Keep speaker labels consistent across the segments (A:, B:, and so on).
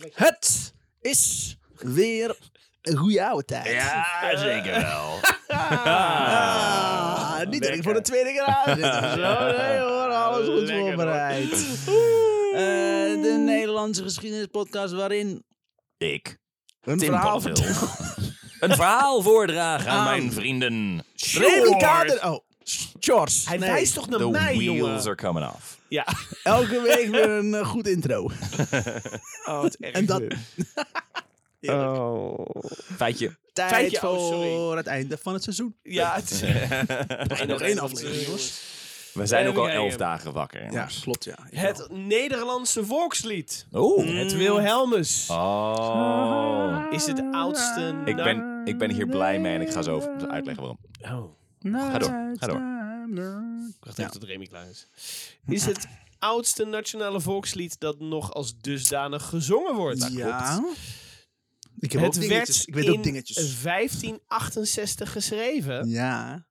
A: Het is weer een goede oude tijd.
B: Ja, zeker wel.
A: Ah, niet dat ik voor de tweede keer aan zit of Zo, nee hoor, alles goed
B: Lekker, hoor.
A: voorbereid. Eh, de Nederlandse geschiedenispodcast waarin
B: Ik,
A: een
B: Tim
A: verhaal
B: Paul wil een verhaal voordragen aan mijn vrienden.
A: Predikator. Oh, George.
C: Hij
A: nee.
C: wijst toch naar
B: The
C: mij,
B: wheels
C: jongen.
B: are coming off.
C: Ja.
A: Elke week weer een eh, goed intro.
C: Oh, wat erg.
A: En dat-
C: Heerlijk.
B: Feitje.
A: Tijd
C: Feitje,
A: voor
C: oh, sorry.
A: het einde van het seizoen.
C: Ja, het is
A: En nog één aflevering, jongens.
C: jongens.
B: We zijn ook al
C: Even
B: elf
C: kijken.
B: dagen wakker.
A: Ja, klopt, ja.
C: Het Nederlandse volkslied.
A: Mm.
B: Oh.
C: Het Wilhelmus.
B: Oh.
C: Is het oudste...
B: Ik ben, ik ben hier blij mee en ik ga zo over- uitleggen waarom.
C: Oh,
B: Ga door, ga door.
C: ik dacht even tot Remy klaar is. Is het oudste nationale volkslied dat nog als dusdanig gezongen wordt?
A: Ja. Ik heb ook
C: Het
A: dingetjes.
C: werd
A: Ik weet ook
C: in
A: dingetjes.
C: 1568 geschreven
A: Ja,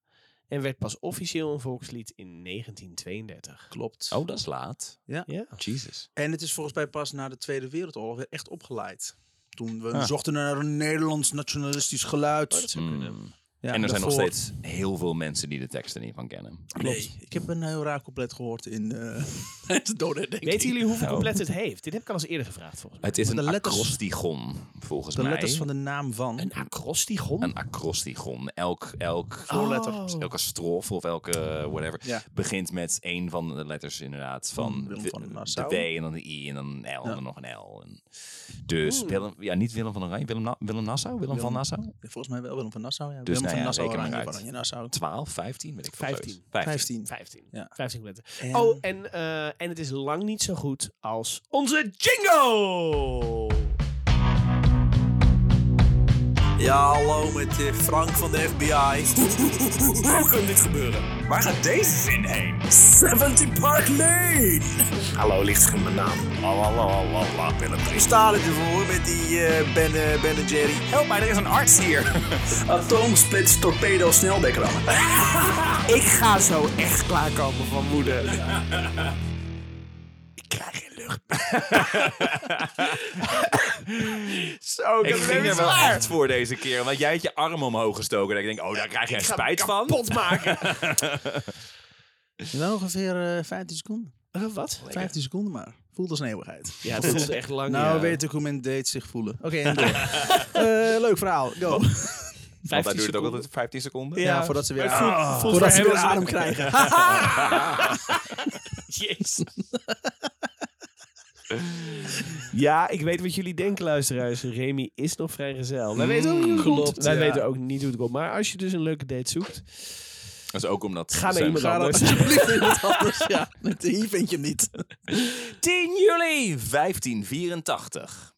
C: en werd pas officieel een volkslied in 1932.
A: klopt.
B: Oh, dat is laat.
C: Ja.
B: Jesus.
A: En het is volgens mij pas na de Tweede Wereldoorlog weer echt opgeleid. Toen we
B: Ah.
A: zochten naar een Nederlands nationalistisch geluid.
C: Oh, dat zou kunnen.
A: Ja,
B: Mm. en er zijn nog
A: daarvoor-
B: steeds heel veel mensen die de teksten niet van kennen.
A: Nee, ik heb een heel raar couplet gehoord in eh het dode herdenking.
C: Weten jullie hoeveel
B: Oh.
C: compleet het heeft? Dit heb ik al eens eerder gevraagd volgens mij.
B: Het is
A: Maar
B: een
A: de letters-
B: acrostigon, volgens
A: de
B: mij.
A: letters van de naam van?
C: Een acrostigon?
B: Een acrostigon. Elk, elk,
C: Voorletter.
B: Oh. elke strofe of elke eh, whatever
A: Ja.
B: begint met een van de letters inderdaad. Van
A: Van Willem
B: de-
A: van
B: de
A: Nassau.
B: W en dan de I en dan een L en dan nog een L. En dus Willem, ja, niet Willem van Oranje, Willem, Na- Willem Nassau, Willem, van Nassau.
A: Volgens mij wel Willem van Nassau. Ja.
B: nou
A: Willem van
B: ja,
A: Nassau,
B: reken maar
A: Oranje,
B: uit.
A: Oranje, Nassau.
B: 12, 15, weet ik veel.
C: 15.
B: zoiets.
A: 15.
B: 15.
C: 15.
A: Ja.
C: 15 compleet.
A: En-
C: Oh, en, eh, en het is lang niet zo goed als onze jingle!
A: Ja, hallo met eh, Frank van de FBI.
D: Hoe kan dit gebeuren? Waar gaat deze zin heen? 70 Park Lane! Hallo, licht in mijn naam. Lalalala, Willem Priest.
A: Staat het ervoor met die eh ben, eh, ben en Jerry.
D: Help mij, er is een arts hier.
A: Atomsplits torpedo sneldekker
D: Ik ga zo echt klaarkomen van moeder. Ik krijg geen lucht.
C: Zo,
B: Ik ging er wel
C: zwaar.
B: echt voor deze keer, want jij had je arm omhoog gestoken. En ik denk, oh, daar krijg je
C: Ik ga
B: spijt
C: hem
B: van.
C: kapot maken.
A: Wel ongeveer eh, 15 seconden.
C: Eh, wat?
A: 15 seconden maar. Voelt als een eeuwigheid.
C: Ja, het voelt echt lang.
A: Nou
C: ja.
A: weet ik hoe men date zich voelen. Oké, en door. Eh, leuk verhaal. Go.
C: 15
B: Want daar duurt het ook
C: seconden.
B: altijd 15 seconden.
A: Ja, voordat ze weer,
C: Maar het voelt-
A: Ah,
C: voelt
A: voordat
C: voor
A: ze
C: hem
A: weer
C: als een-
A: adem krijgen.
C: Jezus. Ja, ik weet wat jullie denken, luisteraars. Remy is nog vrijgezel. Wij, weten, ook niet hoe het
A: klopt,
C: komt. wij
A: ja.
C: weten ook niet hoe het komt. Maar als je dus een leuke date zoekt,
B: Dat is ook omdat
C: Ga naar
B: ze-
C: iemand
A: Ga dan
C: Anders.
A: alsjeblieft in het anders. Ja, met de hier vind je hem niet.
B: 10 juli 1584.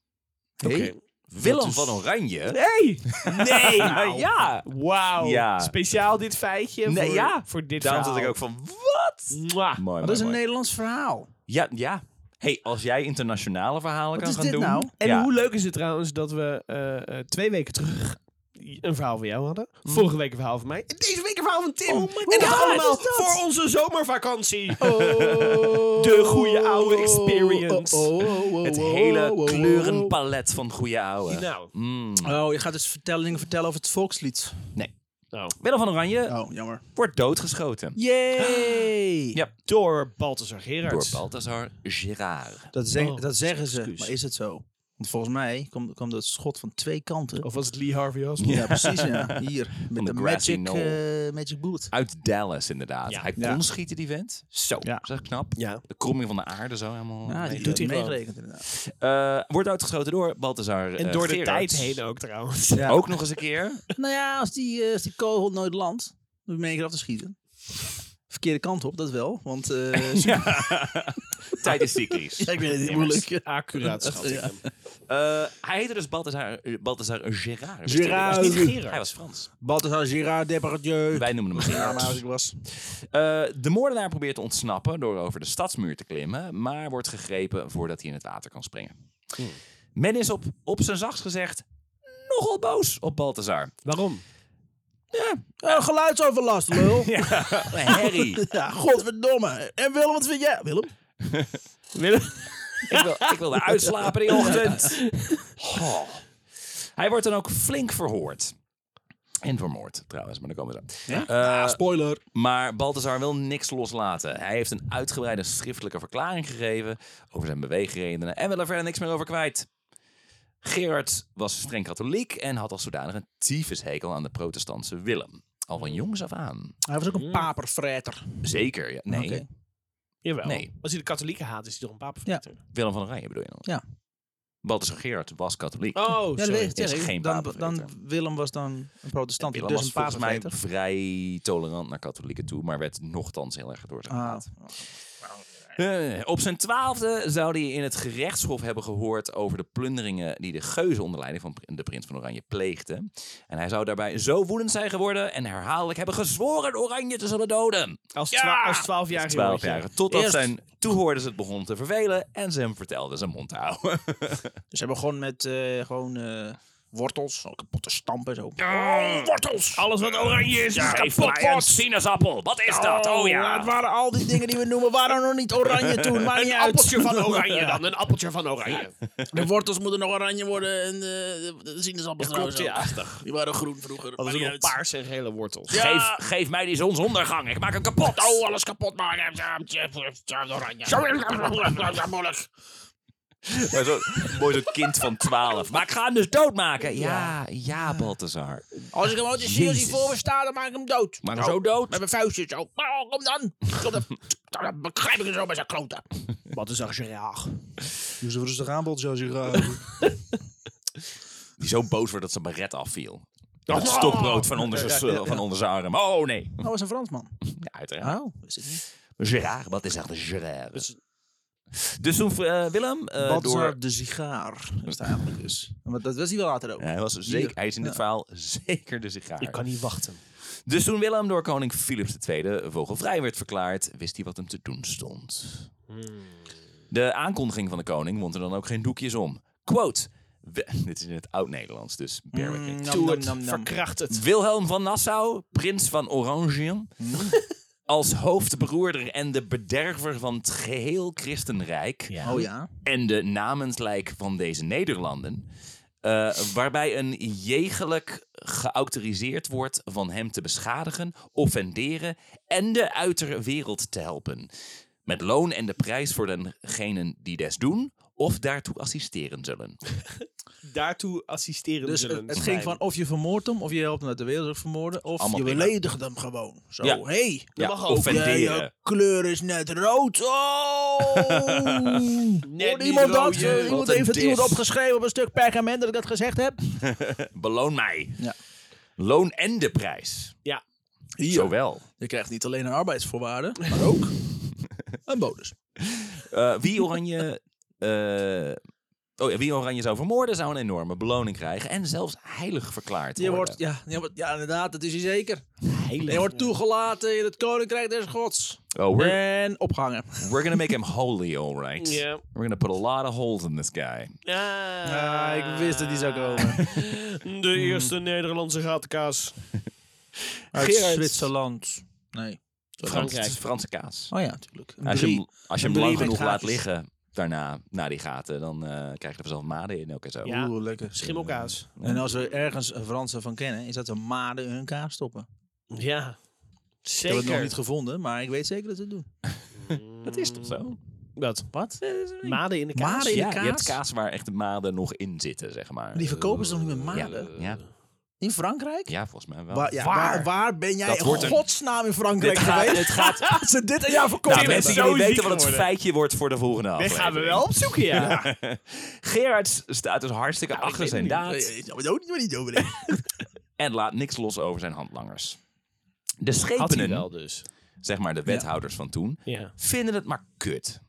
C: Oké.
B: Willem van Oranje.
C: Nee! Nee!
B: Ja!
C: Wauw.
B: Ja.
C: Speciaal dit feitje
B: Nee,
C: voor,
B: ja.
C: voor dit
B: Daarom zat
C: verhaal.
B: ik ook van, wat?
C: Mwah.
B: Mooi,
A: Dat is een Nederlands verhaal.
B: Ja, ja. hey, als jij internationale verhalen kan
A: is
B: gaan
A: dit
B: doen.
A: nou?
C: En
B: ja.
C: hoe leuk is het trouwens dat we eh, eh, twee weken terug een verhaal van jou hadden. Vorige week een verhaal van mij. En deze week een verhaal van Tim. en dat
A: Hm. Oh God,
C: allemaal
A: is dat? Oh.
C: voor onze zomervakantie. De goede oude experience.
A: Oh, oh, oh, oh,
B: Het
A: oh,
B: hele
A: oh, oh, oh.
B: kleurenpalet van goede ouwe.
C: Nou.
B: Mm.
A: Oh, je gaat dus vertellen, dingen vertellen over het volkslied.
C: nou.
B: Willem van Oranje
A: Oh, jammer.
B: wordt doodgeschoten.
A: Yay!
B: Ja.
C: Ah. Door Balthasar
B: Door
C: Gerards.
B: Balthasar Gerard.
A: Dat, zeg-
C: Oh,
A: dat zeggen ze,
C: excuus.
A: maar is het zo? Want volgens mij kwam, kwam dat schot van twee kanten.
C: of was het Lee Harvey Oswald?
A: ja, precies. Ja. Hier, met
B: de
A: de,
B: grassy
A: magic,
B: knoll.
A: eh, magic Bullet.
B: Uit Dallas, inderdaad.
C: Ja.
B: Hij kon
A: Ja.
B: schieten, die vent. Zo,
A: Ja.
B: dat is knap.
C: Ja.
B: De kromming van de aarde zo helemaal.
A: Ja, die
B: meegerekend.
A: doet hij
C: gewoon.
A: meegerekend inderdaad.
B: Eh, wordt uitgeschoten door Balthazar
C: En
B: eh,
C: door de
B: Gerards.
C: tijd heen ook trouwens.
A: Ja.
B: Ook nog eens een keer.
A: Nou ja, als die, eh, als die kogel nooit landt, dan ben je mee af te schieten. Verkeerde kant op, dat wel. Want eh,
B: tijd is cyclisch.
A: ik weet het niet moeilijk.
C: Accuraat schat ik
A: Ja.
C: hem.
B: Eh, hij heette dus Balthazar, eh, Balthazar Gerard.
A: Gerard.
B: Hij was niet Gerard. Hij was Frans.
A: Balthazar Girard Depardieu.
B: Wij noemen hem
A: Ja,
B: Gerard.
A: maar als ik was.
B: Eh, de moordenaar probeert te ontsnappen door over de stadsmuur te klimmen, maar wordt gegrepen voordat hij in het water kan springen.
A: Hmm.
B: Men is op, op zijn zachts gezegd nogal boos op Balthazar.
C: Waarom?
A: Eh, geluidsoverlast, lul. ja.
B: Harry.
A: godverdomme. En Willem, wat vind jij? Willem?
C: Willem?
B: ik, wil, ik wilde uitslapen die ochtend. Oh. Hij wordt dan ook flink verhoord. En vermoord, trouwens, maar daar komen we zo. Eh,
A: Ah, Spoiler.
B: maar Balthazar wil niks loslaten. Hij heeft een uitgebreide schriftelijke verklaring gegeven over zijn beweegredenen en wil er verder niks meer over kwijt. Gerard was streng katholiek en had als zodanig een tyfushekel aan de protestantse Willem. Al van jongs af aan.
A: Hij was ook een papervreter.
B: Zeker, ja. Mm. Nee, Oh,
A: Oké.
C: Jawel.
B: Nee.
C: Als hij de katholieken haat, is hij toch een paap?
A: Ja.
B: Willem van Oranje bedoel je dan?
A: Ja.
B: Balthazar Gerard was katholiek.
C: Oh,
A: Ja, dat
C: sorry.
A: weet ik.
B: Is
A: zeg ik.
B: geen
A: dan,
B: papenvreter.
A: dan Willem was dan een protestant,
B: Willem
A: dus
B: was
A: een
B: volgens mij
A: papenvreter.
B: vrij tolerant naar katholieken toe, maar werd nochtans heel erg door zijn
A: Ah,
B: gehaat. Eh, op zijn twaalfde zou hij in het gerechtshof hebben gehoord over de plunderingen die de geuzen onder leiding van pr- de prins van Oranje pleegden. En hij zou daarbij zo woedend zijn geworden en herhaaldelijk hebben gezworen Oranje te zullen doden.
C: Als,
B: Ja!
C: twa als 12 jaar.
B: Twaalf jaar, totdat
A: Eerst-
B: zijn toehoorders het begon te vervelen en ze hem vertelden zijn mond te houden.
A: dus hij begon met eh, gewoon eh, wortels, zo kapotte stampen. Zo.
B: Oh, wortels!
C: Alles wat oranje is, is
B: Geef
C: kapot.
B: mij een sinaasappel, wat is dat? Oh ja!
A: Het waren al die dingen die we noemen, waren nog niet oranje toen. Maar niet
C: Een
A: uit.
C: appeltje van oranje dan. Een appeltje van oranje.
A: De wortels moeten nog oranje worden en eh, de, de sinaasappels
C: Klopt,
A: trouwens ook.
C: ja.
A: Die waren groen vroeger.
C: Dat
A: maar
C: is
A: niet
C: nog
A: uit.
C: paars en gele wortels.
B: Geef, geef mij die zonsondergang, ik maak hem kapot!
D: Oh, alles kapot maken. Ja, ja, ja, oranje. Zo is het. Ja, moeilijk.
B: Maar zo, mooi zo'n kind van 12. Maar ik ga hem dus doodmaken. Ja, ja, Balthazar.
A: Als ik hem ooit zie als hij voor me staat, dan maak ik hem dood. Nou,
B: Maar zo dood.
A: Met mijn vuistje zo. Oh, kom dan. Kom dan. Dan begrijp ik het zo met zijn kloten.
C: Wat is er graag?
A: Doe ze rustig aan, Bolt, zoals je
B: Die zo boos werd dat zijn baret afviel. Het stokbrood van onder zijn, van onder zijn arm. Oh nee.
A: Oh, was een Fransman.
B: Ja, uiteraard.
A: Oh, is het niet.
B: Gerard, wat is echt een Gerard?
C: Dus-
B: Dus toen eh, Willem eh, door...
A: Balthazar de sigaar is het eigenlijk dus. Maar dat was hij wel later ook.
B: Ja, hij, was zeker, hij is in dit verhaal zeker de sigaar.
C: niet wachten.
B: Dus toen Willem door koning Philips II vogelvrij werd verklaard, wist hij wat hem te doen stond. De aankondiging van de koning wond er dan ook geen doekjes om. Quote. we- dit is in het oud-Nederlands, dus bear with me.
C: Hmm.
A: Nam, nam, nam, nam.
C: Verkracht het.
B: Wilhelm van Nassau, prins van Oranje, als hoofdberoerder en de bederver van het geheel christenrijk
A: Oh ja.
B: en de namenslijk van deze Nederlanden, eh, waarbij een jegelijk geautoriseerd wordt van hem te beschadigen, offenderen en de uiterwereld wereld te helpen. Met loon en de prijs voor degenen die des doen of daartoe assisteren zullen.
C: Daartoe assisteren
A: Dus
C: zullen
A: het, het
C: zijn.
A: ging van of je vermoordt hem, of je helpt hem uit de wereld vermoorden, of
B: Allemaal
A: je
B: prima.
A: beledigt hem gewoon. Zo,
B: Ja.
A: hey,
B: Ja,
C: mag ook.
A: jij,
B: offenderen.
A: je kleur is net rood. Oh! Hoorde
C: niet
A: iemand dat?
C: rood, joh.
A: Eh, Iemand
B: Wat
A: heeft
B: een
A: het iemand
B: dis.
A: opgeschreven op een stuk perkament dat ik dat gezegd heb?
B: Beloon mij.
A: Ja.
B: Loon en de prijs.
C: Ja.
A: Hier.
B: Zowel.
A: Je krijgt niet alleen een arbeidsvoorwaarde, maar ook een bonus.
B: Eh, wie Oranje... eh, oh ja, wie Oranje zou vermoorden zou een enorme beloning krijgen. En zelfs heilig verklaard
A: Je
B: worden.
A: wordt, ja, je wordt, ja, inderdaad, dat is hij zeker. Je
B: heilig.
A: wordt toegelaten in het koninkrijk des gods.
B: Oh, we're,
A: En opgehangen.
B: we're gonna make him holy, alright.
C: Ja.
B: We're gonna put a lot of holes in this guy.
A: Ah, ik wist dat die zou komen. Hmm.
C: De eerste Nederlandse gatenkaas.
A: Uit
B: Gerard.
A: Zwitserland. Nee.
C: Frankrijk.
B: Het is Franse kaas.
A: Oh ja, natuurlijk. Een
B: Als je
A: brie.
B: hem, als je
A: Een
B: hem lang
A: brie met
B: genoeg laat
A: gaatjes.
B: liggen daarna, na die gaten, dan eh, krijg je er vanzelf maden in ook en zo.
C: Ja.
A: Oeh, lekker.
C: Schimmelkaas.
A: En als we ergens een Fransen van kennen, is dat ze maden in hun kaas stoppen.
C: Ja.
A: Ik heb het nog niet
C: Zeker.
A: gevonden, maar ik weet zeker dat ze het doen.
B: Dat is toch
C: Hm.
B: zo? Dus
C: Wat?
A: Wat? Eh,
C: Maden in de kaas?
A: Maden in de
B: Ja, je hebt
A: kaas?
B: kaas waar echt de maden nog in zitten, zeg maar.
A: Die verkopen ze nog niet met maden.
B: Ja, ja,
A: In Frankrijk?
B: ja, volgens mij wel.
A: Waar, ja,
B: Waar?
A: waar, waar ben jij
B: Dat wordt
A: in
B: een-
A: godsnaam in Frankrijk
B: Dit gaat-
A: geweest?
B: dit gaat-
A: dat ze dit aan jou verkopen.
B: Nou,
A: hebben.
B: mensen
C: zo
B: die niet
C: ziek
B: weten wat het
C: geworden.
B: feitje wordt voor de volgende
C: Dit
B: aflevering.
C: gaan we wel opzoeken, ja.
B: Gerard staat dus hartstikke achter
C: Nou, weet
B: zijn
C: het
B: daad
A: Nee, daar moet je ook niet- niet over denken.
B: en laat niks los over zijn handlangers. De
C: Had hij
B: schepenen,
C: wel dus.
B: zeg maar de wethouders van toen,
C: Ja.
B: vinden het maar kut.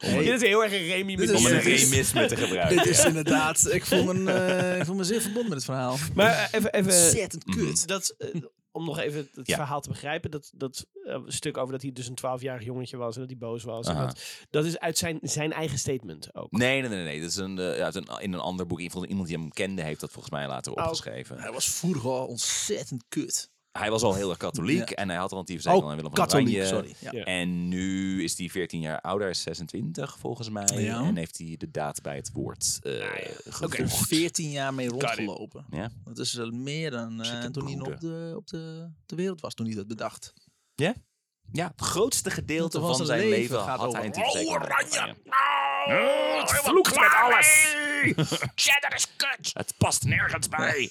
C: Dit is heel erg een Remy met
A: Dit
B: Om
A: is-
B: een
A: dit Dus is-
B: remisme te gebruiken.
A: Dit is inderdaad, ik voel, me, eh, ik voel me zeer verbonden met het verhaal. mm.
C: Maar eh, even, even
A: Ontzettend kut.
C: dat, eh, om nog even het
B: Ja.
C: verhaal te begrijpen, dat, dat eh, stuk over dat hij dus een 12-jarig jongetje was en dat hij boos was. en
B: Aha.
C: dat, dat is uit zijn, zijn eigen statement ook.
B: Nee, nee, nee, nee. Dat is een, eh, uit een, in een
A: Oh.
B: ander boek. Iemand iemand die hem kende heeft dat volgens mij later opgeschreven.
A: Hij was vroeger al ontzettend kut.
B: hij was al heel erg katholiek
A: Ja.
B: en hij had al een tyfus
A: Oh,
B: hekel aan Willem van
A: katholiek,
B: Oranje.
A: sorry. Ja.
C: Ja.
B: En nu is hij 14 jaar ouder, is 26 volgens mij.
A: Ja. Ah,
B: En heeft hij de daad bij het woord eh
A: Ik
B: gevoegd.
A: heb 14 jaar mee
C: it.
A: rondgelopen.
B: Ja.
A: Dat is eh, meer dan eh,
B: Zit te
A: toen hij nog op de, op de, de wereld was, toen hij dat bedacht.
B: Ja, het grootste gedeelte
A: Want er was
B: van
A: een
B: zijn
A: leven
B: leven
A: gaat
B: had
A: over-
B: hij een tyfus hekel aan Willem van Oranje.
D: Het vloekt met alles.
B: Cheddar is kut.
D: Het past nergens bij.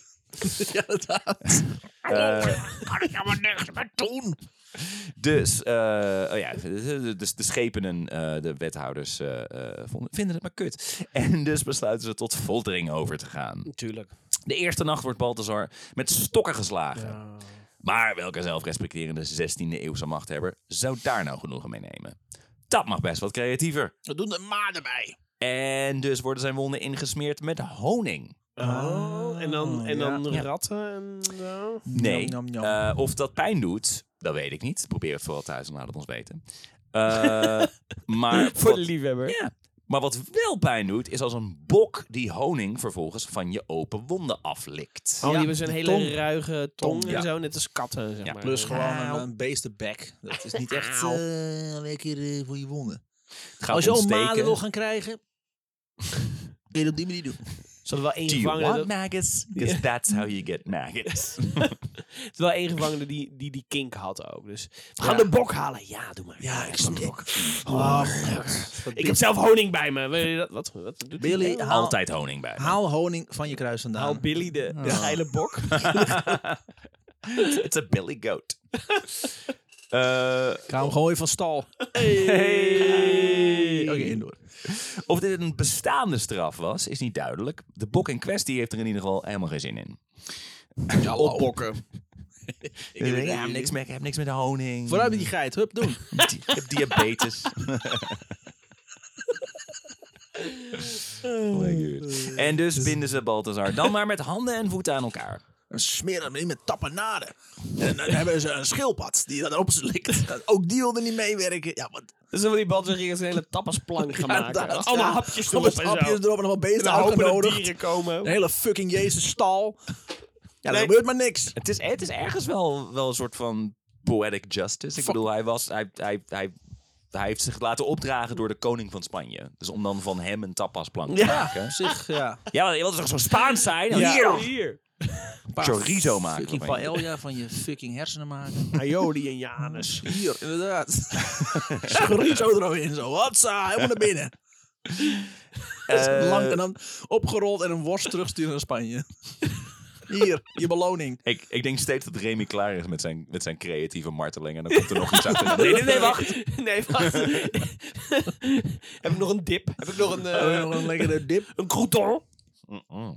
A: ja, inderdaad.
D: Kan ik nou helemaal nergens mee doen.
B: Dus, eh, oh ja, de, de, de schepenen, eh, de wethouders, eh, eh, vonden, vinden het maar kut. En dus besluiten ze tot foltering over te gaan.
C: Natuurlijk.
B: De eerste nacht wordt Balthazar met stokken geslagen. Maar welke zelfrespecterende 16e eeuwse machthebber zou daar nou genoegen mee nemen? Dat mag best wat creatiever.
A: We doen er maar erbij.
B: En dus worden zijn wonden ingesmeerd met honing.
C: Oh, en dan, en dan
B: Ja.
C: ratten en zo.
B: Nee.
A: Nom, nom, nom.
B: Eh, of dat pijn doet, dat weet ik niet. Probeer het vooral thuis en laat het ons weten. Eh, maar
C: Voor
B: wat-
C: de liefhebber.
B: Ja. Maar wat wel pijn doet, is als een bok die honing vervolgens van je open wonden aflikt.
C: Oh,
A: Ja.
C: die hebben zo'n hele
A: Tong.
C: ruige tong,
B: Ja.
C: en zo, net als katten, zeg
B: Ja,
C: maar.
A: Plus gewoon een,
B: Auw.
A: een beestenbek. Dat is niet echt
C: Auw.
A: eh, lekker eh, voor je wonden.
B: Het gaat
A: Als je al
B: ontsteken.
A: maden wil gaan krijgen, kun je dat op die manier doen.
C: Ze hadden wel één
B: Do you
C: gevangene...
B: want
C: dat-
B: maggots? Because that's how you get maggots.
C: Ze hadden wel één gevangene die, die die kink had ook. Dus we gaan
B: Ja.
C: de bok halen. Ja, doe maar.
A: Ja, ik snap het. Oh,
C: Ik heb zelf honing bij me. Wil je dat? Wat? Wat doet die?
A: Billy,
C: Haal-
A: haal,
B: Altijd honing bij. me.
A: haal honing van je kruis vandaan.
C: Haal Billy de, de geile bok.
B: It's a billy goat. Eh,
A: Ik hou hem gewoon weer van stal.
B: hey.
A: Oké, indoor.
B: Of dit een bestaande straf was, is niet duidelijk. De bok in kwestie heeft er in ieder geval helemaal geen zin in.
A: Ja, opbokken.
B: Ik heb, niks met, ik heb niks met honing.
A: Vooruit met die geit. Hup, doen.
B: Ik heb diabetes. Oh my God. en dus binden ze Balthazar dan maar met handen en voeten aan elkaar.
A: En smeren hem in met tapenade. En dan hebben ze een schildpad die dat op ze likt. Ook die wilde niet meewerken. Ja, wat
C: Dus dan wil die Balzer hier eens een hele tappersplank gaan maken.
A: inderdaad,
C: Allemaal
A: ja.
C: hapjes erop
A: Allemaal
C: en zo.
A: hapjes erop en nog wat
C: En
A: beesten
C: dan hopen dat
A: uitgenodigd.
C: dieren komen.
A: Een hele fucking Jezus stal. Ja,
C: Nee.
A: er gebeurt maar niks.
B: Het is, het is ergens wel, wel een soort van poetic justice. Ik bedoel, hij, was, hij, hij, hij, hij heeft zich laten opdragen door de koning van Spanje. Dus om dan van hem een tapasplank te maken.
A: Zich, ja.
B: Ja, want je wilde toch zo Spaans zijn?
C: Ja.
B: Hier dan!
C: Hier.
B: Chorizo maken.
A: Fucking
B: van je.
A: paella van je fucking hersenen maken.
C: Aioli en Janus.
A: Hier, inderdaad. Chorizo er ook in zo. Hatsa, helemaal naar binnen.
B: Eh,
A: Lang en dan opgerold en een worst terugsturen naar Spanje. Hier, je beloning.
B: ik, ik denk steeds dat Remy klaar is met zijn, met zijn creatieve marteling. En dan komt er nog iets achter. Nee, nee, nee, wacht.
C: Nee, wacht. Heb ik nog een dip? Heb ik nog een, eh,
A: Eh, nog een lekkere dip.
C: een crouton?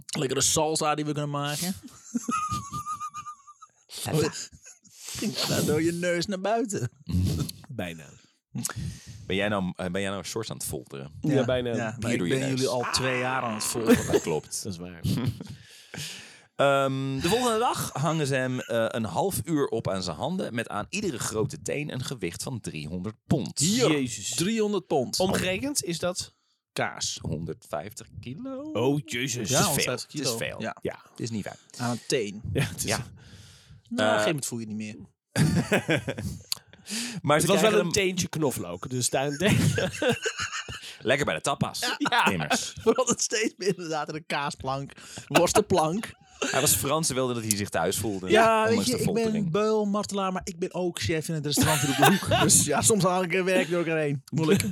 A: Lekkere salsa die we kunnen maken. Daar Nou, door je neus naar buiten.
C: Bijna.
B: Ben jij nou, eh, ben jij nou shorts aan het folteren?
C: Ja, bijna.
A: Ja, maar
B: Hier
A: ik
B: doe je
A: ben
B: neus. Ah.
A: jullie al twee jaar aan het volgen.
B: Dat klopt.
C: Dat is waar.
B: Ehm, de volgende dag hangen ze hem eh, een half uur op aan zijn handen. Met aan iedere grote teen een gewicht van 300 pond.
C: Jezus.
A: 300 pond.
C: Omgerekend is dat...
A: kaas.
B: 150 kilo?
C: Oh, jezus.
A: Ja,
B: het is veel.
A: 150
B: Het is
A: kilo.
B: veel.
A: Ja.
B: Ja, het is niet fijn.
A: Aan een teen.
C: Ja, het is-
B: Ja.
A: Nou, op een gegeven moment voel je het niet meer.
B: Maar
C: Het
B: ze
C: was wel
B: krijgen hem
C: een teentje knoflook. Dus daar denk
B: lekker bij de tapas.
C: Ja.
B: Immers.
A: Vooral het steeds meer inderdaad een kaasplank. Worstenplank.
B: Hij was Frans en wilde dat hij zich thuis voelde.
A: Ja, weet
B: ondanks
A: je,
B: de
A: ik ben
B: foltering.
A: beul, martelaar, maar ik ben ook chef in het restaurant hier op de hoek. Dus ja, soms haal ik er werk door elkaar heen. Moeilijk.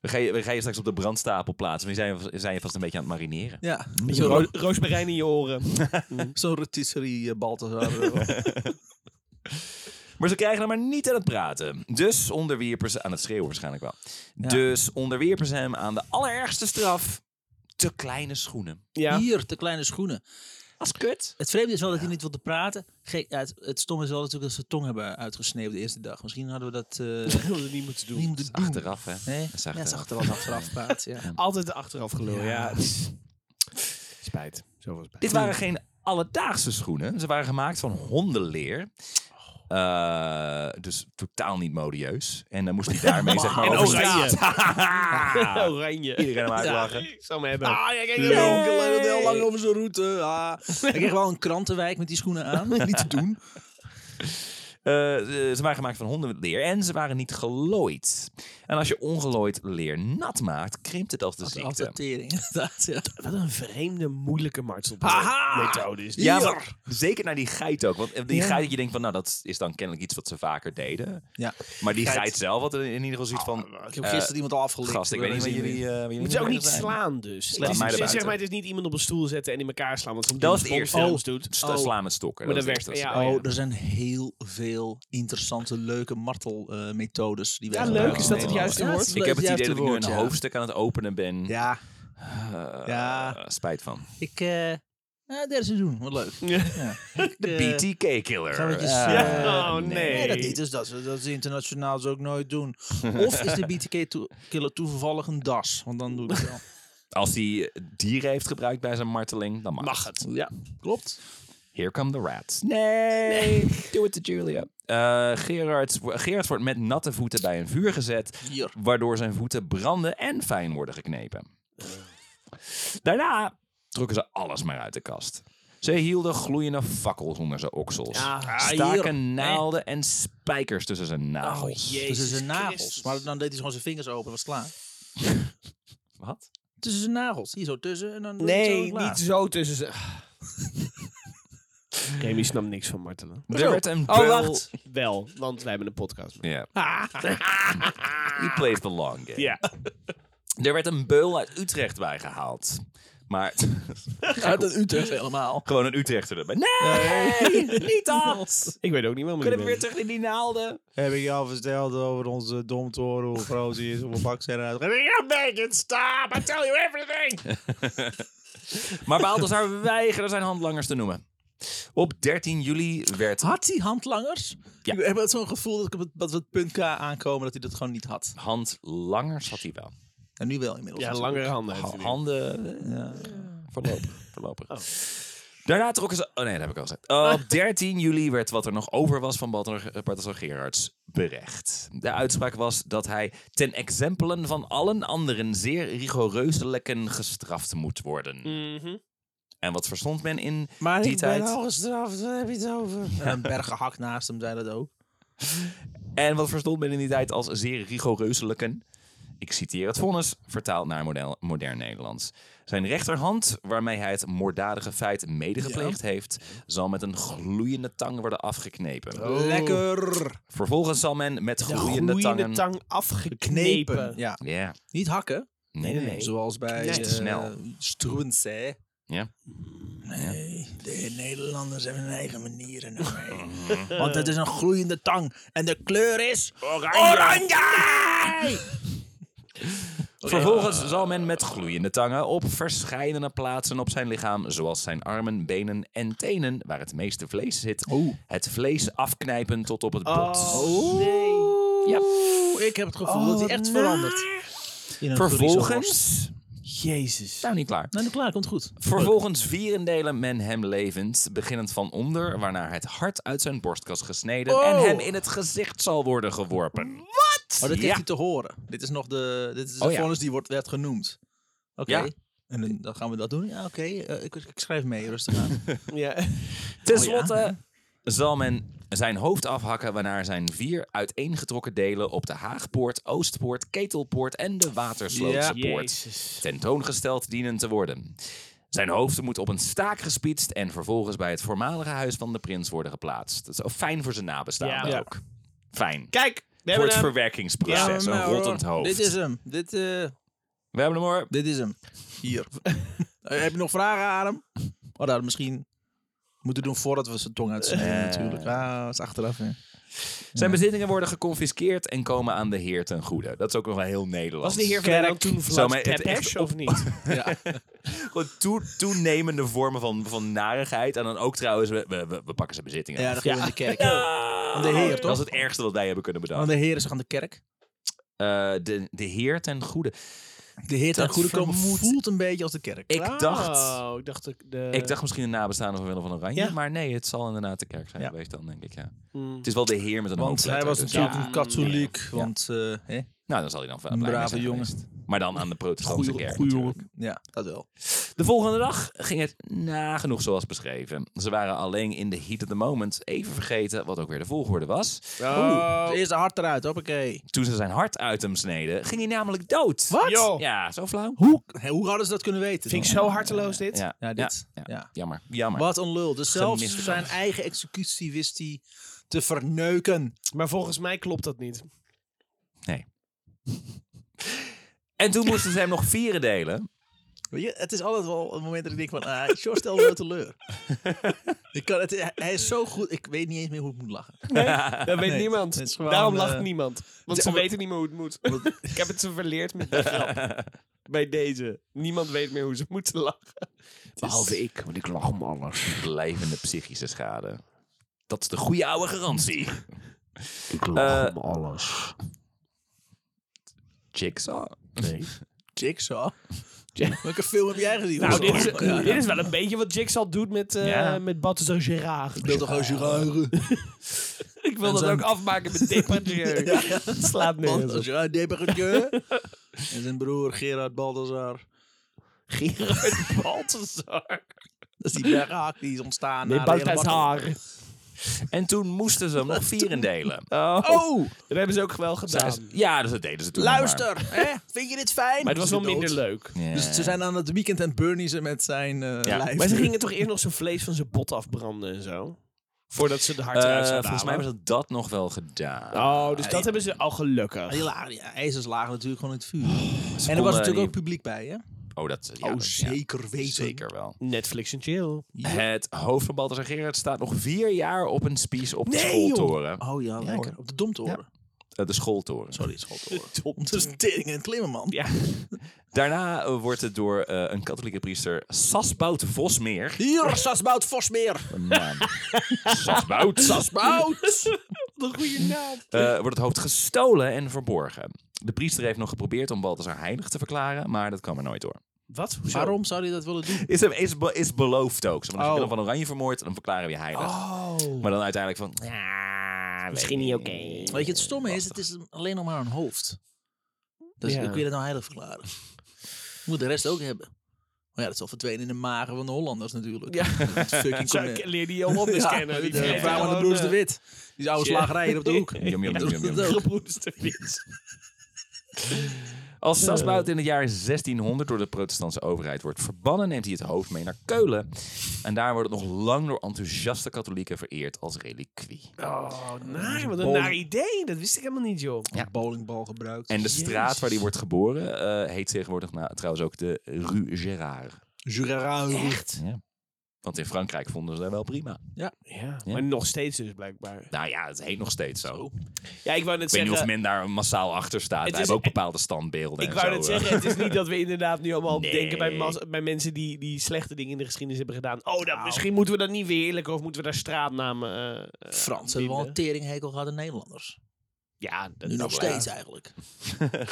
B: We, gaan je, we gaan je straks op de brandstapel plaatsen. We zijn, we zijn je vast een beetje aan het marineren.
A: Ja,
C: je.
A: zo'n
C: roosmarijn in je oren.
A: zo rotisserie eh, Balthazar. eh,
B: Maar ze krijgen hem maar niet aan het praten. Dus onderwierpen ze... Aan het schreeuwen waarschijnlijk wel. Dus onderwierpen ze hem aan de allerergste straf. Te kleine schoenen.
C: Ja.
A: Hier, te kleine schoenen.
B: Dat is kut.
A: Het vreemde is wel dat hij niet wilde praten. Ge- ja, het, het stomme is wel natuurlijk dat ze tong hebben uitgesneeuwd de eerste dag. Misschien hadden we dat eh,
C: Dat hadden we niet
A: niet
C: moeten doen.
A: moeten doen.
B: Achteraf, hè.
A: Nee,
B: Dat is
A: ja, het is
B: achteraf.
A: achteraf, achteraf praat. Ja.
C: Altijd de achteraf gelul. Ja.
A: Ja.
C: Spijt. Zoveel spijt.
B: Dit waren geen alledaagse schoenen. Ze waren gemaakt van hondenleer. Eh, dus totaal niet modieus. En dan moest hij daarmee zeg maar
C: En
B: over
C: oranje.
B: straat.
C: Oranje.
B: Iedereen hem
C: Ja,
B: uitlachen.
C: ik zou hem hebben.
A: Ah, jij kijkt
B: Yay.
A: heel, heel lang over zijn route. Ah. Hij kreeg wel een krantenwijk met die schoenen aan. Niet te doen.
B: Eh, ze waren gemaakt van hondenleer en ze waren niet gelooid. En als je ongelooid leer nat maakt, krimpt het als de ziekte.
A: Adaptering, inderdaad. Ja.
C: Wat een vreemde, moeilijke
A: Haha!
C: martelmethode is dit.
B: Ja,
A: Ja.
B: maar zeker naar die geit ook. Want eh, die
A: Ja.
B: geit, je denkt van, nou, dat is dan kennelijk iets wat ze vaker deden.
A: Ja.
B: Maar die
C: Geit.
B: geit, zelf had er in ieder geval zoiets van,
A: Ik heb
B: Eh,
A: gisteren iemand al afgelicht.
B: gast, ik weet niet wat jullie... eh waar jullie
C: Moet je ook
B: mee
C: niet
B: zijn.
C: slaan dus. Het
B: Laat
C: is-
B: mij
C: het is-
B: erbuiten.
C: zeg maar, het is niet iemand op een stoel zetten en in elkaar slaan. Want
B: Dat is het eerste.
C: films doet.
B: Sta- Slaan met stokken.
C: Maar dat
B: is het
C: werkt,
B: eerste.
C: Oh, ja.
A: Oh, er zijn heel veel interessante, leuke martelmethodes. die wij
C: Ja,
A: gebruiken
C: leuk. Is
A: in
C: dat het
A: Nederland.
C: juiste
A: Ja,
C: woord?
A: is
B: Dus Ik heb het idee dat
A: juiste
B: ik nu
A: woord,
B: een
A: ja.
B: hoofdstuk aan het openen ben.
A: Ja,
B: Eh,
A: Ja.
B: Spijt van.
A: ik... eh ja, derde seizoen. Wat leuk. Ja.
B: De
A: eh,
B: BTK-killer.
A: gaan we het dus, eens,
C: eh, Ja, oh, nee.
A: Nee, dat niet. Dus dat, ze- dat ze internationaal ze ook nooit doen. Of is de BTK-killer toevallig een das? Want dan doe ik het wel.
B: Als hij dieren heeft gebruikt bij zijn marteling, dan mag,
C: Mag het.
A: Ja, klopt.
B: Here come the rats. Nee, doe het to Julia. Eh, Gerard, Gerard wordt met natte voeten bij een vuur gezet,
A: Hier.
B: waardoor zijn voeten branden en fijn worden geknepen. Daarna trokken ze alles maar uit de kast. Ze hielden gloeiende fakkels onder zijn oksels,
C: Ah,
A: hier.
B: staken naalden en spijkers tussen zijn nagels.
A: Tussen
C: jee. Oh, Jezus
A: zijn nagels.
C: Christus.
A: Maar dan deed hij gewoon zijn vingers open, was klaar.
B: Wat?
A: Tussen zijn nagels. Hier zo tussen en dan doe je het zo
C: Nee,
A: klaar.
C: niet zo tussen ze. Remy snapt niks van martelen.
B: Er werd een
C: Oh,
B: bel-
C: wacht. Wel, want wij hebben een podcast.
B: Ja. You played the long game.
C: Ja.
B: Er werd een beul uit Utrecht bijgehaald. Maar
A: Uit dat Utrecht helemaal.
B: gewoon een Utrechter erbij. Nee, niet dat!
C: Ik weet ook niet waarom ik
B: Kunnen we
C: er
B: weer
C: ben.
B: terug in die naalden?
A: Heb ik jou verteld over onze domtoren, hoe groot die is, hoeveel bak zijn eruit?
B: Maar Balthazar weigerde zijn handlangers te noemen. Op 13 juli werd...
A: Had hij handlangers?
B: Ja.
A: Ik heb wel zo'n gevoel dat, ik op het, dat we het punt K aankomen dat hij dat gewoon niet had.
B: Handlangers had hij wel.
A: En nu wel inmiddels.
C: Ja,
A: natuurlijk.
C: langere handen. heeft
B: Ha-
C: hij nu. Oh.
B: Handen... eh, Voorlopig. voorlopig. Daarna trokken ze... Oh nee, dat heb ik al gezegd. Op 13 juli werd wat er nog over was van Balthazar Balthazar Gerards berecht. De uitspraak was dat hij ten exempelen van allen anderen zeer rigoureuselijken gestraft moet worden.
C: Mhm.
B: En wat verstond men in
A: Maar
B: die
A: ik
B: tijd?
A: ben al gestraft, daar heb je het over. En een berg gehakt naast hem, zei dat ook.
B: En wat verstond men in die tijd als zeer rigoureuzeleken? Ik citeer het vonnis, vertaald naar model, modern Nederlands. Zijn rechterhand, waarmee hij het moorddadige feit medegepleegd heeft, zal met een gloeiende tang worden afgeknepen.
A: Lekker.
B: Vervolgens zal men met
C: De
B: Oh. gloeiende,
C: groeiende
B: tangen...
C: tang
A: Knepen.
C: afgeknepen.
A: Ja.
B: Ja,
A: Niet hakken.
B: nee, nee, nee.
A: Zoals bij
B: Dat is te
A: eh,
B: snel.
A: Struens, hè?
B: Ja.
A: Nee, de Nederlanders hebben hun eigen manieren. ermee. Want het is een gloeiende tang. En de kleur is...
B: Oh, Vervolgens zal men met gloeiende tangen op verschillende plaatsen op zijn lichaam, zoals zijn armen, benen en tenen, waar het meeste vlees zit, het vlees afknijpen tot op het bot.
C: Oh.
B: Ja.
A: Oeh, ik heb het gevoel dat hij echt verandert. In een frieselworst.
B: Vervolgens.
C: Jezus.
B: Nou, niet klaar.
A: Nee, nou, klaar, komt goed.
B: Vervolgens vierendelen men hem levend, beginnend van onder, waarna het hart uit zijn borstkas gesneden en
A: Oh.
B: hem in het gezicht zal worden geworpen.
A: Oh, dat
B: Ja.
A: kreeg hij te horen. Dit is nog de... Dit is de
B: Oh, ja.
A: vonnis die wordt, werd genoemd. Oké.
B: Ja.
A: En dan, dan gaan we dat doen? Ja, oké. eh, ik, ik schrijf mee, rustig aan.
C: Ja.
A: oh,
B: Ten slotte zal men zijn hoofd afhakken, waarna zijn vier uiteengetrokken delen op de Haagpoort, Oostpoort, Ketelpoort en de Waterslootse
A: Ja.
B: Poort
C: Jezus.
B: tentoongesteld dienen te worden. Zijn hoofd moet op een staak gespietst en vervolgens bij het voormalige huis van de prins worden geplaatst. Dat is ook fijn voor zijn nabestaanden
C: Ja.
B: ook. Fijn.
C: Kijk, we
B: voor
C: hebben
B: het
C: hem.
B: verwerkingsproces, een rottend hoofd.
A: Um, Dit is hem. Dit, eh,
B: We hebben hem hoor.
A: dit is hem. Hier. Eh, heb je nog vragen aan hem? Oh, dat hadden we misschien moeten doen voordat we zijn tong uitsnijden
B: Eh.
A: natuurlijk. Ah, dat is achteraf. Hè.
B: Zijn bezittingen worden geconfiskeerd en komen aan de heer ten goede. Dat is ook nog wel heel Nederlands.
C: Was de heer van Nederland toen
B: Zou
C: Vlaams
B: mij het
C: Peppers
B: echt
C: of niet?
A: Ja.
B: Gewoon toe- toenemende vormen van, van narigheid. En dan ook trouwens, we, we, we- we pakken zijn bezittingen.
A: ja, dat
C: Ja.
A: ja. in de kerk.
B: Ah!
A: Aan de heer,
B: Dat is
A: toch?
B: het ergste wat wij hebben kunnen
A: Want
B: bedenken.
A: de Heer is aan de kerk.
B: Eh, de, de heer ten goede.
A: De heer ten
B: Dat
A: goede komen
B: vermoed-
A: voelt een beetje als de kerk.
B: Ik dacht,
C: Oh, ik dacht... dat De...
B: ik dacht misschien een nabestaande van Willem van Oranje.
C: Ja.
B: Maar nee, het zal inderdaad de kerk zijn
A: Ja.
B: geweest dan, denk ik. Ja.
C: Mm.
B: Het is wel de heer met een
A: Want hij
B: hoofdletter,
A: was
B: dus
A: natuurlijk
B: ja.
A: een katholiek. Want, eh, hè?
B: Nou, dan zal hij dan wel
A: Een
B: blij mee
A: brave
B: zijn
A: jongen.
B: geweest. Maar dan aan de protestantse
C: Goeie-
B: kerk
C: goeie
B: natuurlijk.
A: ja, dat wel.
B: De volgende dag ging het nagenoeg zoals beschreven. Ze waren alleen in de heat of the moment even vergeten wat ook weer de volgorde was.
C: Oh.
A: Oeh, het eerste hart eruit, hoppakee.
B: Toen ze zijn hart uit hem sneden, ging hij namelijk dood.
A: Wat?
C: Yo.
B: Ja, zo flauw.
A: Hoe, hè, hoe hadden ze dat kunnen weten?
C: Vind ik
A: dan?
C: zo harteloos dit.
B: Ja,
A: Ja, dit.
B: ja,
A: ja.
B: Jammer, jammer.
A: Wat een lul. Dus zelfs
B: Gemiste
A: zijn
B: kans.
A: eigen executie wist hij te verneuken.
C: Maar volgens mij klopt dat niet.
B: En toen moesten ze hem nog vieren delen.
A: Weet je, het is altijd wel een moment dat ik denk van, ah, George stel me teleur. ik kan het, hij- hij is zo goed, ik weet niet eens meer hoe ik moet lachen.
C: Dat weet
A: Nee,
C: niemand.
A: het is gewoon,
C: Daarom
A: eh,
C: lacht niemand. Want ze
A: de-
C: weten niet meer hoe het moet. ik heb het ze verleerd met de grap. Bij deze. Niemand weet meer hoe ze moeten lachen.
B: Behalve ik, want ik lach om alles. Blijvende psychische schade. Dat is de goede oude garantie. Eh,
D: Ik
B: lach
D: om alles.
B: Jigsaw.
A: Jigsaw? Welke film heb jij gezien?
C: Nou, dit is,
A: Ja, ja.
C: dit is wel een beetje wat Jigsaw doet met, eh
B: Ja.
C: met Balthazar Gerard.
A: Ik wil toch gewoon Girard.
C: Ik wil
A: En
C: dat
A: zijn-
C: ook afmaken met Depardieu. Dat slaat nergens op.
A: Balthazar Debergetje. En zijn broer Gerard Balthazar.
C: Gerard Balthazar.
A: Dat is die berghaak die is ontstaan.
C: Nou, Nee,
A: na de hele
C: Balthazar.
B: En toen moesten ze hem nog vieren delen.
C: Oh,
A: battle. Oh,
C: dat hebben ze ook wel
B: Zij-
C: gedaan.
B: Ja, dus dat deden ze toen. nog maar.
A: luister. Hè? Vind je dit fijn?
C: Maar het was wel minder leuk.
B: Ja.
A: Dus ze zijn aan het weekend en burnie ze met zijn eh
B: Ja,
A: lijf.
C: Maar ze gingen toch eerst nog zijn vlees van zijn bot afbranden en zo? Voordat ze de hart
B: Eh,
C: eruit zouden
B: volgens mij
C: halen.
B: hebben ze dat nog wel gedaan.
C: Oh, dus dat hebben ze al gelukkig.
A: Heel aardig. Ah, Ja, ijzers lagen natuurlijk gewoon in het vuur.
B: Ze
A: en er was
B: konden
A: natuurlijk ook
B: die-
A: publiek bij, hè?
B: Oh, dat, ja,
A: oh,
B: dat- ja,
A: zeker weten.
B: zeker wel.
C: Netflix en chill.
B: Het hoofd van Balthazar Gerard staat nog vier jaar op een spies op de
A: Nee,
B: schooltoren.
A: Oh ja, lekker.
B: hoor.
A: Op de domtoren.
B: Eh, de schooltoren.
A: Sorry, schooltoren. Het is een tering en klimmerman.
C: Ja.
B: Daarna eh, wordt het door eh, een katholieke priester Sasbout Vosmeer.
A: Hier, Sasbout Vosmeer.
B: Man. Sasbout.
A: Sasbout.
C: Wat een goede naam.
B: Eh, wordt het hoofd gestolen en verborgen. De priester heeft nog geprobeerd om Balthazar heilig te verklaren, maar dat kwam er nooit door.
C: Wat? Hoezo?
A: Waarom zou hij dat willen doen?
B: Is, hem- is, be- is beloofd ook. Zo van, Als je
A: Oh.
B: Willem van Oranje vermoord, dan verklaren we je heilig. Maar dan uiteindelijk van... "Ah,
C: Misschien
B: weet
C: niet
B: ik
C: oké.
A: Weet je, het stomme is, het is alleen nog maar een hoofd. Dus
C: Ja.
A: ik wil het nou heilig verklaren. Moet de rest ook hebben. Maar ja, dat zal verdwenen in de magen van de Hollanders natuurlijk.
C: Ja.
A: Dat Fucking
C: Zo, ik leer die al op te scannen. Die
A: de
C: vreten
A: vrouw en de
C: gewoon,
A: broers de
C: eh,
A: Wit. Die oude
C: shit.
A: slagerij hier op de hoek.
B: Jam, jam, jam, jam, jam.
A: Dat ook.
C: Gebroeders de Wit.
B: Als Sasbout in het jaar 1600 door de protestantse overheid wordt verbannen, neemt hij het hoofd mee naar Keulen. En daar wordt het nog lang door enthousiaste katholieken vereerd als reliquie.
C: Oh, naar, wat een
A: Bol.
C: naar idee. Dat wist ik helemaal niet, joh.
A: Ja. Bowlingbal gebruikt.
B: En de straat waar hij
C: Jezus.
B: wordt geboren eh, heet tegenwoordig na, trouwens ook de Rue Gérard.
A: Jurarau.
C: Echt?
B: Want in Frankrijk vonden ze dat wel prima.
C: Ja. Maar nog steeds dus, blijkbaar.
B: Nou ja, het heet nog steeds zo. Ik
C: Ja, ik wou net
B: weet niet of
C: zeggen...
B: men daar massaal achter staat.
C: Het
B: Wij
C: is-
B: hebben ook bepaalde standbeelden. en
C: Ik wou
B: zo,
C: net
B: eh.
C: zeggen, het is niet dat we inderdaad nu allemaal
B: Nee.
C: denken bij, mas- bij mensen die, die slechte dingen in de geschiedenis hebben gedaan. Oh,
A: Nou.
C: dan, misschien moeten we dat niet verheerlijken of moeten we daar straatnamen... eh, eh,
A: Frans hebben we wel een
C: vinden.
A: teringhekel gehad de Nederlanders.
C: Ja, dat
A: Nu
C: is
A: nog
C: waar.
A: steeds eigenlijk.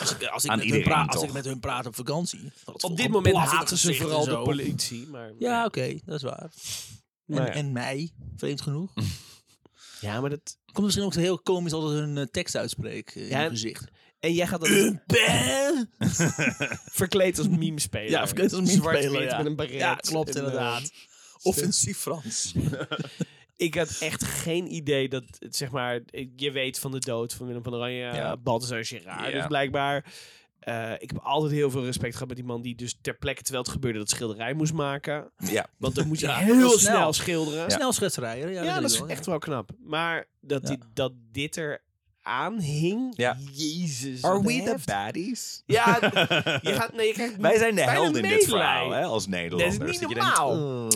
A: Als ik, als ik,
B: Aan
A: met, hun
B: iedereen
A: praat, als
B: toch?
A: ik met hun praat op vakantie.
C: Op dit moment haten ze vooral de politie. Maar,
A: Ja, oké, dat is waar. En,
C: Maar Nou ja.
A: en mij, vreemd genoeg.
C: ja, maar dat...
A: Komt misschien ook heel komisch als ik hun eh, tekst uitspreek eh, in
C: Ja,
A: hun
C: en-
A: gezicht.
C: En jij gaat dat dus
A: Ben!
C: verkleed als meme spelen.
A: Ja, verkleed als meme speler,
C: Zwart-wit
A: ja.
C: met een baret.
A: Ja, klopt
C: En, eh,
A: inderdaad. Offensief Frans.
C: ik had echt geen idee dat, het, zeg maar, ik- je weet van de dood van Willem van Oranje,
B: Ja.
C: eh, Balthazar Gerard.
B: Ja.
C: Dus blijkbaar, eh, ik heb altijd heel veel respect gehad met die man die dus ter plekke, terwijl het gebeurde, dat schilderij moest maken.
B: Ja,
C: Want dan moest je
A: Ja,
C: heel
A: heel
C: snel,
A: snel.
C: schilderen. Ja,
A: Snel schetserijen. Ja, weet
C: dat
A: ik
C: is
A: wel,
C: echt wel knap. Maar dat,
A: Ja.
C: die, dat dit er aan hing,
B: Ja.
C: jezus.
B: Are
C: wat
B: we the
C: heft.
B: baddies?
C: Ja, je gaat, nee, je krijgt
B: Wij zijn de
C: bijna
B: helden in dit
C: medelijden.
B: verhaal, hè, als
C: Dat oh,
B: Nederlanders.
C: is niet
B: je "Oh."
C: normaal.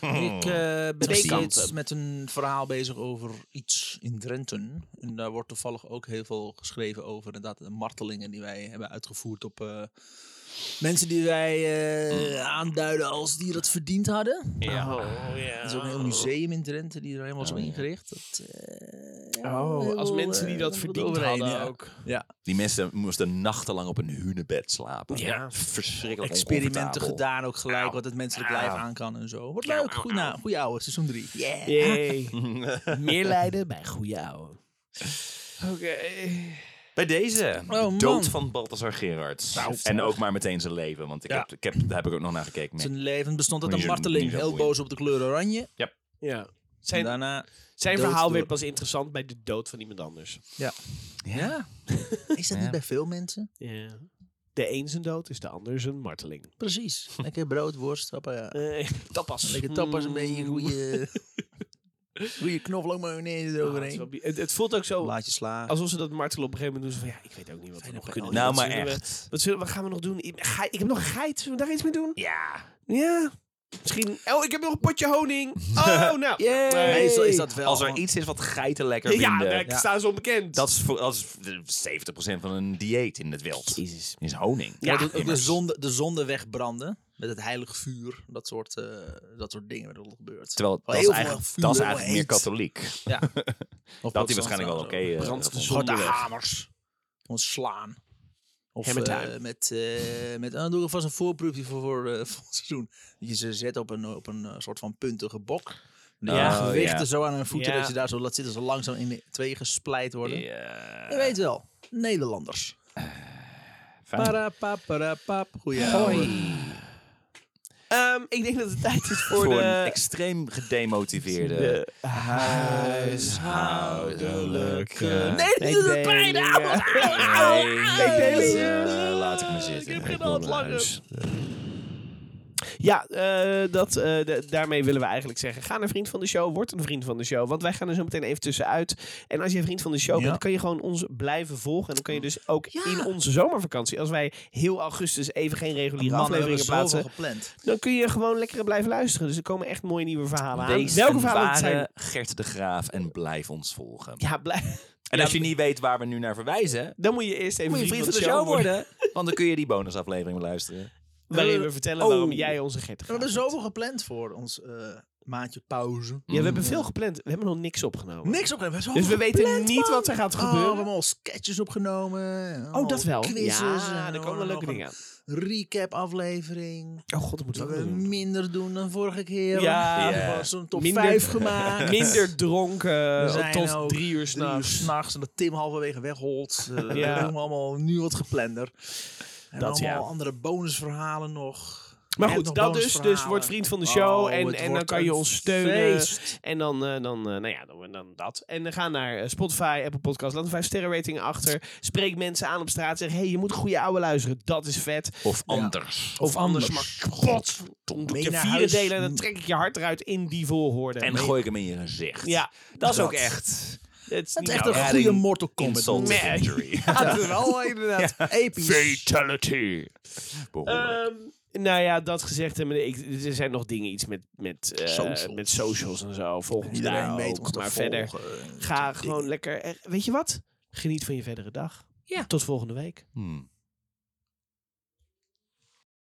A: Ik
C: Hmm.
A: eh, ben
B: Precies.
A: steeds met een verhaal bezig over iets in Drenthe. En daar wordt toevallig ook heel veel geschreven over inderdaad, de martelingen die wij hebben uitgevoerd op eh, mensen die wij eh,
C: Hmm.
A: aanduiden als die dat verdiend hadden.
C: Ja. Oh, ja.
A: Er is ook een heel museum in Drenthe die er helemaal zo
B: ja.
A: ingericht. Dat, eh, ja, Oh,
C: Als mensen die eh, dat verdiend hadden
A: ja.
C: ook.
A: Ja,
B: Die mensen moesten nachtenlang op een hunebed slapen.
C: Ja.
B: Verschrikkelijk
A: experimenten
B: oncomfortabel.
A: gedaan ook gelijk, wat het menselijk lijf aan kan en zo. Wordt leuk, goeie, na, goeie ouwe, seizoen 3. Yeah.
C: Yay. Meer lijden bij goeie ouwe. Oké.
B: Bij deze.
A: Oh,
B: de dood
A: man.
B: van Balthasar Gerards.
A: Nou,
B: en ook maar meteen zijn leven. Want ik
A: Ja.
B: heb, ik heb, daar heb ik ook nog naar gekeken. Nee.
A: Zijn leven bestond uit
B: Moet
A: een
B: je
A: marteling.
B: niet zo
A: Heel
B: boeien.
A: boos op de kleur oranje.
C: Ja.
A: En
C: Zijn,
A: daarna...
C: zijn
A: dood
C: verhaal
A: door-
C: werd pas interessant bij de dood van iemand anders.
A: Ja. Is dat
B: Ja.
A: niet bij veel mensen?
C: Ja. De een zijn dood is de ander zijn marteling.
A: Precies. Lekker brood, worst, hoppa, ja.
C: Eh, tapas.
A: Lekker tapas, een beetje
C: Mm.
A: goede... goede knoflook mayonaise
C: Ah, het, is
A: eroverheen.
C: wel bi- het, het voelt ook zo
A: Laat je slaan.
C: alsof ze dat martelen op een gegeven moment doen. Zo van, ja, ik weet ook niet wat we
A: Fijne
C: nog
A: pijn.
C: kunnen doen.
B: Nou,
C: Wat
B: maar
C: zullen we-
B: echt.
C: wat, zullen, wat gaan we nog doen? Ik, ge- ik heb nog een geit. Zullen we daar iets mee doen?
B: Ja.
C: Ja. Misschien. Oh, ik heb nog een potje honing. Oh, nou.
A: Yay!
C: Nee.
A: Meestal is dat wel.
B: Als er iets is wat geiten lekker
C: Ja,
B: vinden.
C: daar
A: Ja.
C: staan ze onbekend.
B: eh, Dat is, voor, dat is 70% van een dieet in het wild.
C: Jezus.
B: Is honing.
A: Ja,
C: Ja,
A: de, de,
B: immers.
A: zonde, de zonde wegbranden. Met het heilig vuur. Dat soort, eh, dat soort dingen werden er gebeurd.
B: Terwijl dat
A: Heel
B: is
A: veel
B: eigenlijk,
A: vuur,
B: dat is eigenlijk
A: heet.
B: meer katholiek.
A: Ja. Of
B: Dat die waarschijnlijk wel oké. eh,
C: Brandt de
B: dat
C: zon.
A: Grote
C: Zonder weg.
A: hamers. Ons slaan. Of
C: Hammertime.
A: eh, met, eh met ah, doe alvast een voorproefje voor, voor, eh, voor het seizoen. Dat je ze zet op een, op een eh, soort van puntige bok. En
B: Ja.
A: ja, gewichten
B: Ja.
A: zo aan hun voeten
C: Ja.
A: dat je daar zo laat zitten. Zo langzaam in twee gespleit worden.
B: Ja.
A: Je weet wel, Nederlanders.
C: Eh,
B: Fijn.
A: Parapap, parapap. Goeie ouwe.
C: Ehm, ik denk dat het tijd is voor,
B: Voor een
C: de...
B: extreem gedemotiveerde...
C: de huishoudelijke...
A: Nee, dat doet het pijn.
C: mededelingen.
B: Nee,
C: deel
B: deze,
C: het.
B: eh, laat ik me zitten.
C: Ik heb geen
B: wil
C: hand
B: naar
C: langer.
B: huis.
C: Ja, eh, dat, eh, de- daarmee willen we eigenlijk zeggen: ga naar vriend van de show, word een vriend van de show. Want wij gaan er zo meteen even tussenuit. En als je vriend van de show
A: Ja.
C: bent, kan je gewoon ons blijven volgen. En dan kan je dus ook
A: Ja.
C: in onze zomervakantie, als wij heel augustus even geen reguliere
A: Man, we hebben
C: afleveringen
A: zoveel
C: plaatsen,
A: gepland.
C: dan kun je gewoon lekker blijven luisteren. Dus er komen echt mooie nieuwe verhalen
B: Wees
C: aan. Welke
B: een
C: verhalen het
B: ware
C: zijn?
B: Gert de Graaf en blijf ons volgen.
C: Ja, blijf.
B: En als je niet weet waar we nu naar verwijzen,
C: Dan moet je eerst even
B: moet je vriend van de show worden. Want dan kun je die bonusaflevering beluisteren.
C: Waarin we vertellen
B: Oh.
C: waarom jij onze gert
A: We hebben zoveel gepland voor ons eh, maandje pauze.
C: Ja, we hebben veel gepland. We hebben nog niks opgenomen.
A: Niks opgenomen. we hebben
C: Dus we
A: zoveel
C: weten
A: gepland,
C: niet
A: man.
C: wat er gaat
A: Oh, we hebben
C: gebeuren.
A: allemaal sketches opgenomen.
C: Oh, dat wel.
A: Quizzes.
C: Ja,
A: en
C: er komen
A: nog
C: leuke
A: een
C: dingen aan.
A: Recap aflevering.
C: Oh god, dat
A: Dat
C: moeten we
A: we
C: ook doen.
A: minder doen dan vorige keer.
C: Ja.
A: we
B: Ja.
A: hebben zo'n top
C: Minder-
A: 5 gemaakt.
C: Minder dronken eh,
A: We zijn
C: tot
A: ook
C: drie uur
A: Drie uur
C: s'nachts.
A: s'nachts en dat Tim halverwege wegholt. Eh,
C: Ja.
A: We doen allemaal nu wat geplander. En
C: Dat,
A: allemaal
C: ja.
A: andere bonusverhalen nog.
C: Maar
A: En nog
C: goed, dat dus. Dus
A: bonusverhalen.
C: word vriend van de show.
A: Oh,
C: en
A: het
C: en dan
A: wordt
C: kan je
A: een
C: ons steunen.
A: feest.
C: En dan, eh, dan eh, nou ja, dan, dan dat. En dan ga naar eh, Spotify, Apple Podcast. Laat een 5 sterren rating achter. Spreek mensen aan op straat. Zeg, hé, hey, je moet goede ouwe luisteren. Dat is vet.
B: Of anders.
C: Of, anders, maar kapot.
A: Tom,
C: Je vieren delen en
A: Mm.
C: dan trek ik je hart eruit in die volhoorde.
B: En gooi ik hem in je gezicht.
C: Ja,
B: dat is
A: dat.
B: ook echt.
C: het is
A: Dat
C: niet
A: is echt
B: Nou,
A: een
B: ja,
A: goede
B: die
A: Mortal Kombat.
B: Insult to
C: Nee.
B: injury.
A: Dat is wel inderdaad episch.
B: Fatality. Behoorlijk.
C: Ehm, nou ja, dat gezegd hebben, ik, er zijn nog dingen, iets met, met, eh,
A: Socials.
C: met socials en zo. Volgens mij
A: Iedereen
B: Nou,
C: ook,
A: weet ons te
C: maar verder.
A: volgen.
C: Ga gewoon lekker. eh, Weet je wat? Geniet van je verdere dag.
A: Ja.
C: Tot volgende week.
B: Hmm.